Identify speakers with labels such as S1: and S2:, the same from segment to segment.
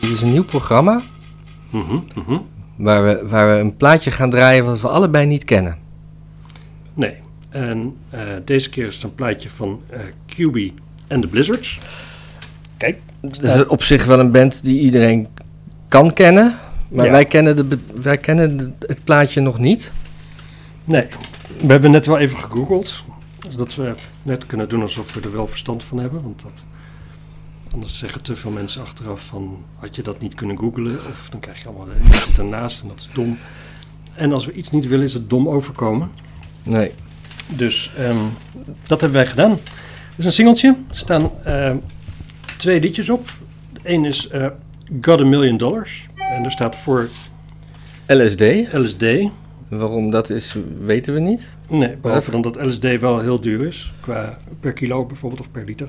S1: is een nieuw programma
S2: Mhm, mhm.
S1: waar we, waar we een plaatje gaan draaien wat we allebei niet kennen.
S2: Nee. En eh, deze keer is het een plaatje van eh QB en de Blizzards. Kijk.
S1: Het is op zich wel een band die iedereen kan kennen, maar
S2: Ja.
S1: wij kennen, de, be- wij kennen de- het plaatje nog niet.
S2: Nee. We hebben net wel even gegoogeld. Zodat we net kunnen doen alsof we er wel verstand van hebben. Want dat, anders zeggen te veel mensen achteraf van... had je dat niet kunnen googelen? Of dan krijg je allemaal dingen ernaast en dat is dom. En als we iets niet willen is het dom overkomen.
S1: Nee.
S2: Dus ehm, dat hebben wij gedaan. Het is een singeltje. Er staan ehm, twee liedjes op. Eén is eh Got a Million Dollars. En daar staat voor
S1: LSD,
S2: LSD.
S1: waarom dat is, weten we niet.
S2: Nee, behalve
S1: Wat?
S2: dan dat LSD wel heel duur is. Qua per kilo bijvoorbeeld of per liter.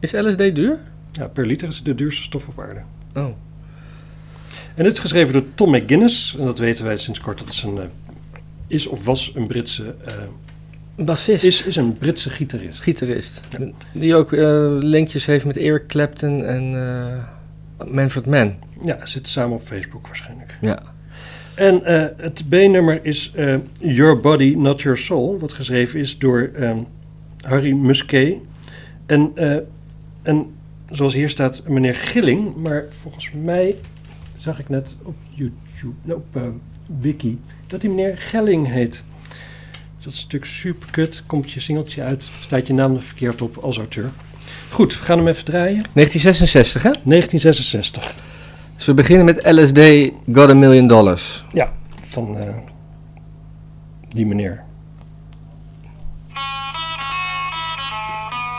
S1: Is LSD duur?
S2: Ja, per liter is het de duurste stof op aarde.
S1: Oh.
S2: En dit is geschreven door Tom McGuinness. En dat weten wij sinds kort. Dat is een, eh, is of was een Britse... eh,
S1: Bassist.
S2: is, is een Britse gitarist.
S1: gitarist. Die ook eh, linkjes heeft met Eric Clapton en eh Manfred Mann.
S2: Ja, zitten samen op Facebook waarschijnlijk.
S1: Ja.
S2: En eh, het B-nummer is eh, Your Body, Not Your Soul, wat geschreven is door ehm, Harry Musquet. En, eh, en zoals hier staat, meneer Gilling, maar volgens mij zag ik net op YouTube, nee, op eh, Wiki, dat die meneer Gelling heet. Dus dat is natuurlijk super kut. Komt je singeltje uit, staat je naam er verkeerd op als auteur. Goed, we gaan hem even draaien.
S1: 1966, hè?
S2: 1966.
S1: Dus we beginnen met LSD, Got a Million Dollars.
S2: Ja, van eh, die meneer.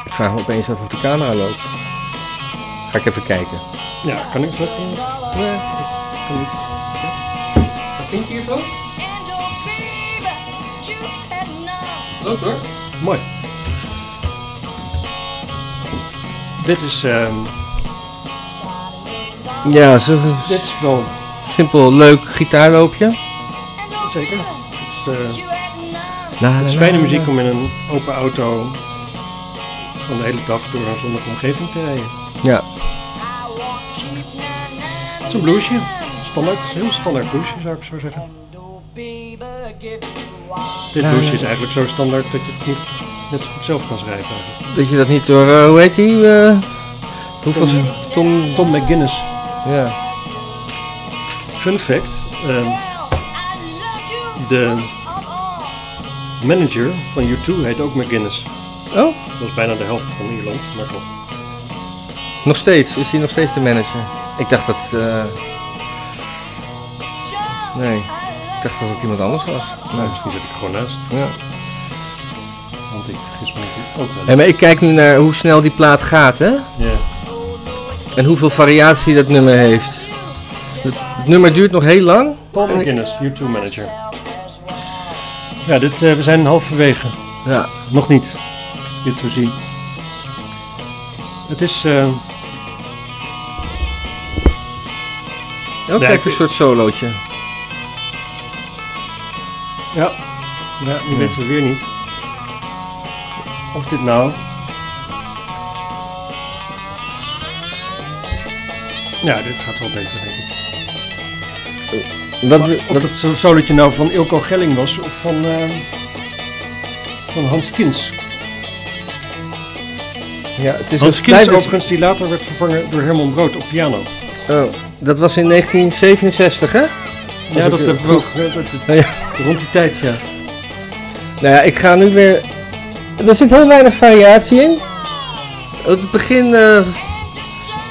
S1: Ik vraag me opeens af of de camera loopt. Ga ik even kijken.
S2: Ja, kan ik zo.
S1: Wat vind je hiervan? Leuk hoor.
S2: Mooi. Dit is, ehm,
S1: Ja, zo
S2: dit is wel
S1: simpel, leuk gitaarloopje.
S2: zeker. Het is, eh,
S1: La,
S2: het
S1: la,
S2: is
S1: la,
S2: fijne
S1: la,
S2: muziek
S1: la.
S2: om in een open auto van de hele dag door een zonnige omgeving te rijden.
S1: Ja,
S2: Het is een bluesje. Standaard, heel standaard bluesje zou ik zo zeggen. Dit
S1: Ja,
S2: bluesje
S1: ja.
S2: is eigenlijk zo standaard dat je het niet net zo goed zelf kan schrijven. eigenlijk.
S1: dat je dat niet door, eh, hoe heet die? eh, hoeveel... Tom...
S2: Tom McGuinness.
S1: Ja.
S2: Fun fact. ehm, de manager van U2 heet ook McGuinness.
S1: Oh,
S2: Dat is bijna de helft van Ierland, maar toch.
S1: nog steeds. Is hij nog steeds de manager? Ik dacht dat... eh, Nee, ik dacht dat het iemand anders was.
S2: Nou,
S1: Nee.
S2: misschien zit ik er gewoon naast,
S1: Ja.
S2: want ik vergis me natuurlijk ook wel.
S1: Hé, maar ik kijk nu naar hoe snel die plaat gaat, hè?
S2: Ja.
S1: En hoeveel variatie dat nummer heeft. Het, het nummer duurt nog heel lang.
S2: Paul
S1: En ik-
S2: McGuinness, U2 manager. Ja, dit, eh, we zijn halverwege.
S1: Ja.
S2: Nog niet, als ik dit zo zie. Het is, eh,
S1: Ook
S2: Ja, ik-
S1: kijk, een soort solootje.
S2: ja, ja nu weten we weer niet. Of dit nou... Ja, dit gaat wel beter, denk ik.
S1: Wat,
S2: Maar
S1: we-
S2: of
S1: wat,
S2: dat zo'n solotje nou van Ilko Gelling was of van, eh, van Hans Kins.
S1: ja, het is
S2: Hans
S1: een-
S2: Kins
S1: blijft een-
S2: overigens die later werd vervangen door Herman Brood op piano.
S1: oh, dat was in 1967, hè?
S2: ja,
S1: ook
S2: dat
S1: heel
S2: heb ik
S1: goed.
S2: ook. eh, dat- dat- Rond die tijd, ja.
S1: Nou ja, ik ga nu weer... Er zit heel weinig variatie in. Op het begin eh,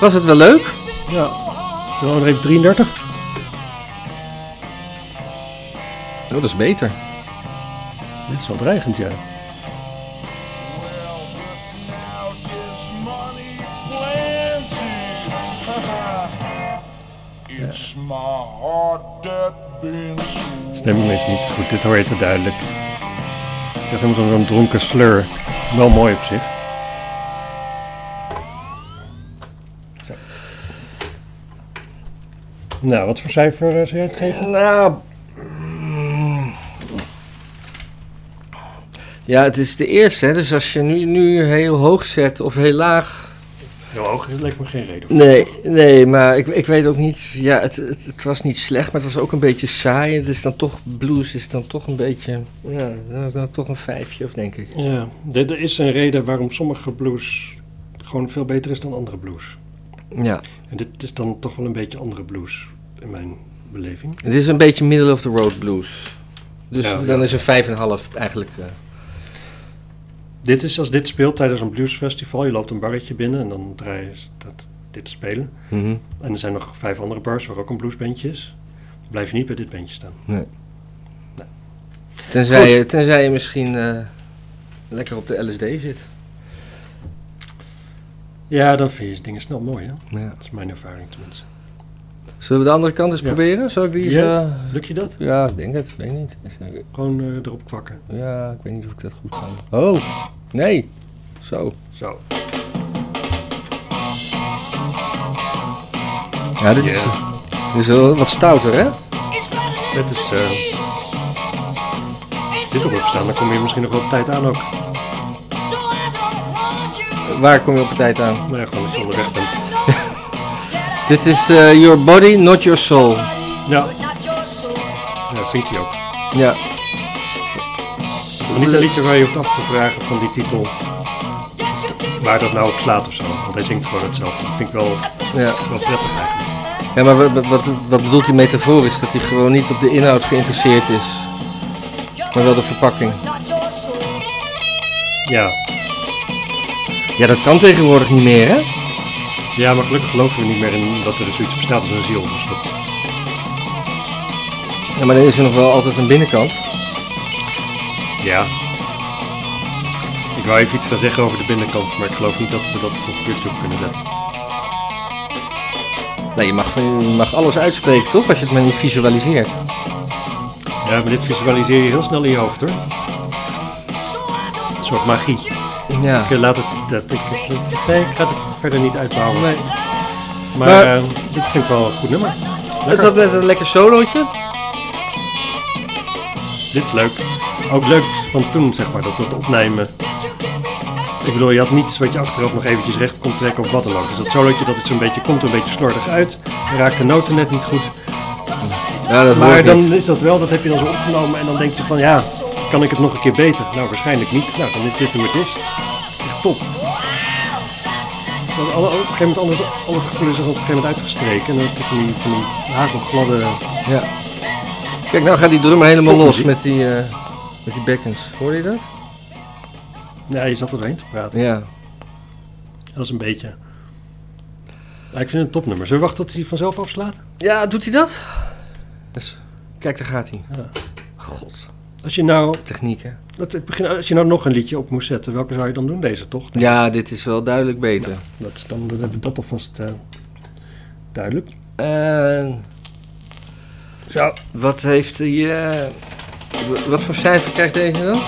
S1: was het wel leuk.
S2: ja. Zullen we er even 33?
S1: Oh, dat is beter.
S2: Dit is wel dreigend, ja.
S3: It's my heart that been so
S2: Stemming is niet goed, dit hoor je te duidelijk. Ik krijg helemaal zo'n zo'n dronken slur. Wel mooi op zich. Zo. Nou, wat voor cijfer eh, zou jij het geven?
S1: Nou. mm. Ja, het is de eerste, hè? dus als je nu, nu heel hoog zet of heel laag,
S2: Heel hoog lijkt me geen reden. voor.
S1: Nee, nee, maar ik, ik weet ook niet. Ja, het, het, het was niet slecht, maar het was ook een beetje saai. Het is dan toch blues, is dan toch een beetje. Ja, nou, dan, dan toch een vijfje, of denk ik.
S2: Ja, er er is een reden waarom sommige blues gewoon veel beter is dan andere blues.
S1: Ja,
S2: En dit is dan toch wel een beetje andere blues in mijn beleving.
S1: het is een beetje middle of the road blues. Dus
S2: Ja,
S1: dan
S2: ja.
S1: is een vijf en een half eigenlijk. eh,
S2: Dit is als dit speelt tijdens een bluesfestival. Je loopt een barretje binnen en dan draai je dat, dit spelen.
S1: mhm.
S2: En er zijn nog vijf andere bars waar ook een bluesbandje is. Dan blijf je niet bij dit bandje staan.
S1: tenzij,
S2: Goed.
S1: je, tenzij je misschien eh, lekker op de LSD zit.
S2: Ja, dan vind je dingen snel mooi, hè?
S1: Ja.
S2: Dat is mijn ervaring tenminste.
S1: Zullen we de andere kant eens
S2: Ja.
S1: proberen? Zal ik die eens,
S2: Ja.
S1: eh,
S2: Lukt je dat?
S1: ja, ik denk het. Ik weet niet. Is, eh,
S2: Gewoon eh, erop kwakken.
S1: Ja, ik weet niet of ik dat goed kan. Oh, nee. Zo.
S2: Zo.
S1: Ja, dit is, dit is wel wat stouter, hè?
S2: Dit is... eh dit erop staan, dan kom je misschien nog wel op tijd aan ook.
S1: Waar kom je op de tijd aan?
S2: Maar ja, gewoon als je onderweg bent.
S1: Dit is eh, Your Body, Not Your Soul.
S2: Ja, ja zingt hij ook.
S1: Ja.
S2: Maar niet een liedje waar je hoeft af te vragen van die titel waar dat nou op slaat of zo. Want hij zingt gewoon hetzelfde. Dat vind ik wel,
S1: Ja,
S2: wel prettig eigenlijk.
S1: ja maar wat, wat, wat bedoelt hij metaforisch? Dat hij gewoon niet op de inhoud geïnteresseerd is, maar wel de verpakking.
S2: Ja.
S1: Ja, dat kan tegenwoordig niet meer, hè?
S2: ja, maar gelukkig geloven we niet meer in dat er zoiets bestaat als een ziel. Dus dat,
S1: Ja, maar dan is er nog wel altijd een binnenkant.
S2: ja. Ik wou even iets gaan zeggen over de binnenkant, maar ik geloof niet dat we dat op YouTube kunnen zetten.
S1: Nou, je mag, je mag alles uitspreken, toch? Als je het maar niet visualiseert.
S2: Ja, maar dit visualiseer je heel snel in je hoofd hoor. Een soort magie.
S1: Ja.
S2: Ik, eh, laat het, dat, ik, dat- nee, ik ga het verder niet uitbouwen.
S1: Nee.
S2: Maar,
S1: Maar-
S2: eh, dit vind ik wel een goed nummer.
S1: Het
S2: Lekker.
S1: had net een lekker solootje.
S2: Dit is leuk. Ook leuk van toen, zeg maar, dat dat opnemen. Ik bedoel, je had niets wat je achteraf nog eventjes recht kon trekken of wat dan ook. Dus dat solootje, dat het zo'n beetje komt, een beetje slordig uit. Je raakt de noten net niet goed.
S1: Ja, dat hoor
S2: Maar
S1: ik niet.
S2: dan is dat wel, dat heb je dan zo opgenomen. En dan denk je van, ja, kan ik het nog een keer beter? Nou, waarschijnlijk niet. Nou, dan is dit hoe het is. Echt top. Dat alle, op een gegeven moment alles, al het gevoel is er op een gegeven moment uitgestreken. En dan heb je van die, van die hagelgladde...
S1: Ja. Kijk, nou gaat die drummer helemaal los
S2: Popmuziek.
S1: met die, eh, met die bekkens. Hoorde je dat?
S2: Ja, je zat er doorheen te praten.
S1: Ja.
S2: Dat is een beetje. Ja, ik vind het een topnummer. Zullen we wachten tot hij vanzelf afslaat?
S1: Ja, doet hij dat? Dus, kijk, daar gaat hij.
S2: Ja.
S1: God,
S2: Als je nou,
S1: techniek hè?
S2: dat, ik begin, als je nou nog een liedje op moest zetten, welke zou je dan doen? Deze toch?
S1: Ja, dit is wel duidelijk beter.
S2: Dat is dan, dan hebben we dat alvast eh, duidelijk.
S1: En
S2: Zo.
S1: Eh, wat heeft hij... eh, w- wat voor cijfer krijgt deze dan?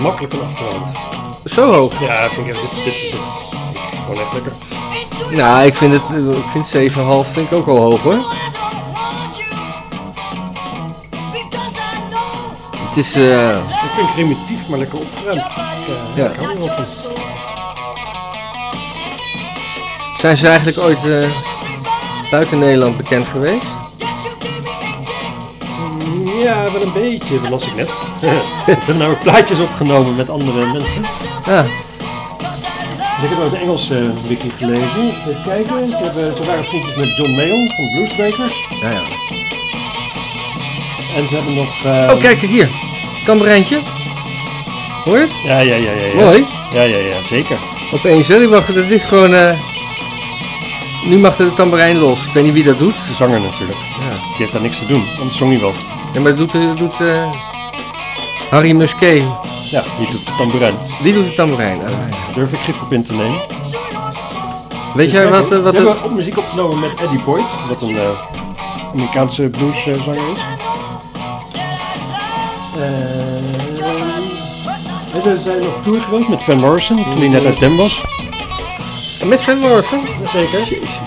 S2: Makkelijk een achterhand.
S1: Zo hoog.
S2: Ja, vind ik, echt- dit, dit, dit, vind ik gewoon echt lekker.
S1: Nou, ik vind, het, eh, ik vind 7,5 vind ik ook al hoog hoor. Het is... eh,
S2: Het klinkt primitief, maar lekker opgeruimd. Ja,
S1: Ja.
S2: Ik hou er wel van.
S1: zijn ze eigenlijk ooit eh, buiten Nederland bekend geweest?
S2: Ja, wel een beetje. Dat las ik net. We hebben nou plaatjes opgenomen met andere mensen.
S1: Ja.
S2: En Ik heb ook de Engelse eh, wiki gelezen. Dus Even kijken. Ze, hebben, ze waren vriendjes met John Mayall van de Bluesbreakers.
S1: Nou ja.
S2: En ze hebben nog... eh,
S1: Oh, kijk hier. Tamboerijntje. Hoor je het?
S2: Ja, ja, ja, ja. ja.
S1: Mooi.
S2: Ja, ja, ja, zeker.
S1: Opeens, hè? Ik dacht, dit is gewoon... eh, Nu mag de tamboerijn los. Ik weet niet wie dat doet.
S2: De zanger natuurlijk.
S1: Ja,
S2: Die heeft daar niks te doen, anders zong hij wel.
S1: ja maar dat doet, eh, doet eh, Harry Musquet.
S2: Ja, die doet de tamboerijn.
S1: Die doet de tamboerijn. Ah, ja.
S2: Daar durf ik gif op in te nemen.
S1: Weet jij wat... eh, wat
S2: Ze
S1: de-
S2: hebben op muziek opgenomen met Eddie Boyd, wat een eh, Amerikaanse blueszanger is. Eh, en ze zijn op tour geweest met Van Morrison, toen hij net uit Dem was.
S1: Met Van Morrison?
S2: Zeker.
S1: Jezus.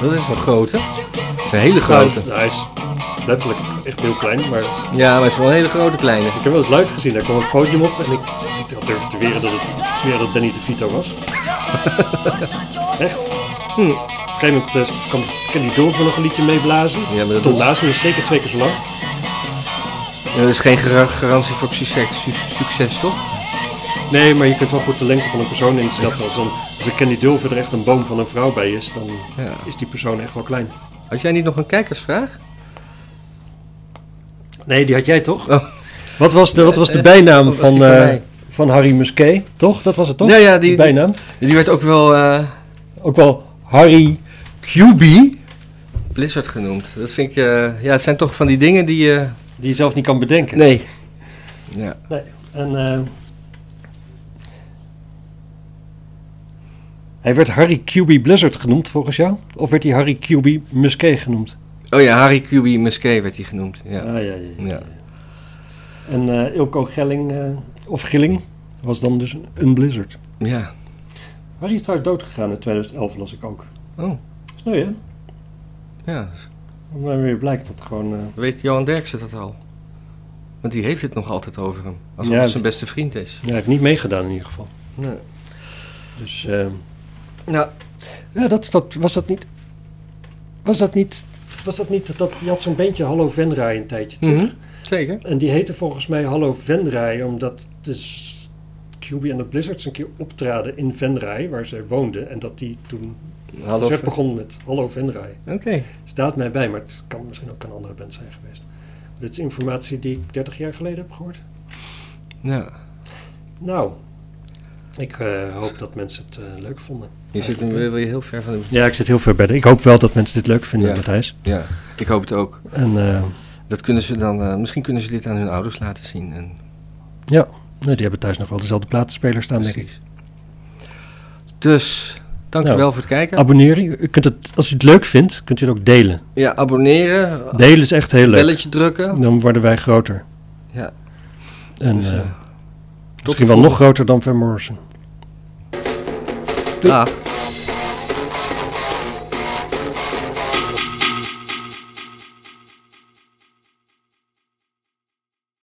S1: Dat is wel groot, hè? Dat is een hele grote.
S2: Nou, hij is letterlijk echt heel klein, maar
S1: Ja, maar het is wel een hele grote kleine.
S2: ik heb wel eens live gezien. Daar kwam een podium op en ik ik durf te weren dat het zweren dat Danny DeVito was. echt. Op een gegeven moment eh, kwam Kenny Dorfer nog een liedje meeblazen.
S1: maar dat
S2: Tom
S1: doet-
S2: naast me is dus zeker twee keer zo lang.
S1: Ja, dat is geen gar- garantie voor succes, su- succes toch?
S2: Nee, maar je kunt wel goed de lengte van een persoon inschatten. Als een, als een Kenny Dulver er echt een boom van een vrouw bij is, dan
S1: Ja.
S2: is die persoon echt wel klein.
S1: Had jij niet nog een kijkersvraag?
S2: Nee, die had jij toch?
S1: Oh.
S2: Wat, was de, wat was de
S1: Eh,
S2: bijnaam
S1: wat was
S2: van,
S1: die van
S2: eh,
S1: mij?
S2: van Harry Musquet? Toch? Dat was het toch?
S1: Ja, ja, die, die,
S2: bijnaam.
S1: die werd ook wel eh
S2: Ook wel Harry QB.
S1: Blizzard genoemd. Dat vind ik, eh, ja, het zijn toch van die dingen die eh, je...
S2: Die je zelf niet kan bedenken.
S1: nee. Ja.
S2: En, eh, hij werd Harry QB Blizzard genoemd volgens jou? Of werd hij Harry QB Musquet genoemd?
S1: Oh ja, Harry Kubi Musquet werd hij genoemd. Ja.
S2: Ah, ja, ja, ja.
S1: Ja.
S2: En eh, Ilko Gelling, eh, of Gilling, was dan dus een Blizzard.
S1: ja.
S2: Harry is trouwens doodgegaan in 2011, las ik ook.
S1: Oh.
S2: Sneu, hè?
S1: Ja,
S2: Maar weer blijkt dat gewoon... eh,
S1: weet Johan Derksen dat al? Want die heeft het nog altijd over hem. Alsof
S2: Ja.
S1: het zijn beste vriend is.
S2: ja, hij heeft niet meegedaan in ieder geval.
S1: Nee.
S2: Dus, eh,
S1: Nou,
S2: ja, dat, dat, was dat niet... Was dat niet... Was dat niet dat... Je had zo'n beentje Hallo Venraai een tijdje terug.
S1: mhm, zeker.
S2: En die heette volgens mij Hallo Venray, omdat de s- QB en de Blizzards een keer optraden in Venray, waar zij woonden. En dat die toen
S1: Hallo.
S2: concert
S1: Oké.
S2: begon Dus met Hallo Venray. Staat mij bij, maar het kan misschien ook een andere band zijn geweest. Dit is informatie die ik 30 jaar geleden heb gehoord.
S1: Nou,
S2: Nou, ik eh, hoop dat mensen het eh, leuk vonden.
S1: je zit nu weer weer heel ver van hem.
S2: Ja, ik zit heel ver bij. de- Ik hoop wel dat mensen dit leuk vinden,
S1: Ja.
S2: Matthijs.
S1: Ja, ik hoop het ook.
S2: En eh,
S1: Dat kunnen ze dan, eh, misschien kunnen ze dit aan hun ouders laten zien. En,
S2: ja, nou, die hebben thuis nog wel dezelfde platenspeler staan, denk ik.
S1: Dus, dankjewel
S2: Nou.
S1: voor het kijken.
S2: Abonneer je. U kunt het, als u het leuk vindt, kunt u het ook delen.
S1: ja, abonneren.
S2: Delen is echt heel leuk.
S1: Oh. Belletje drukken.
S2: Dan worden wij groter.
S1: Ja.
S2: En
S1: Dus,
S2: eh,
S1: eh,
S2: misschien wel nog groter dan Van Morrison.
S1: Dag.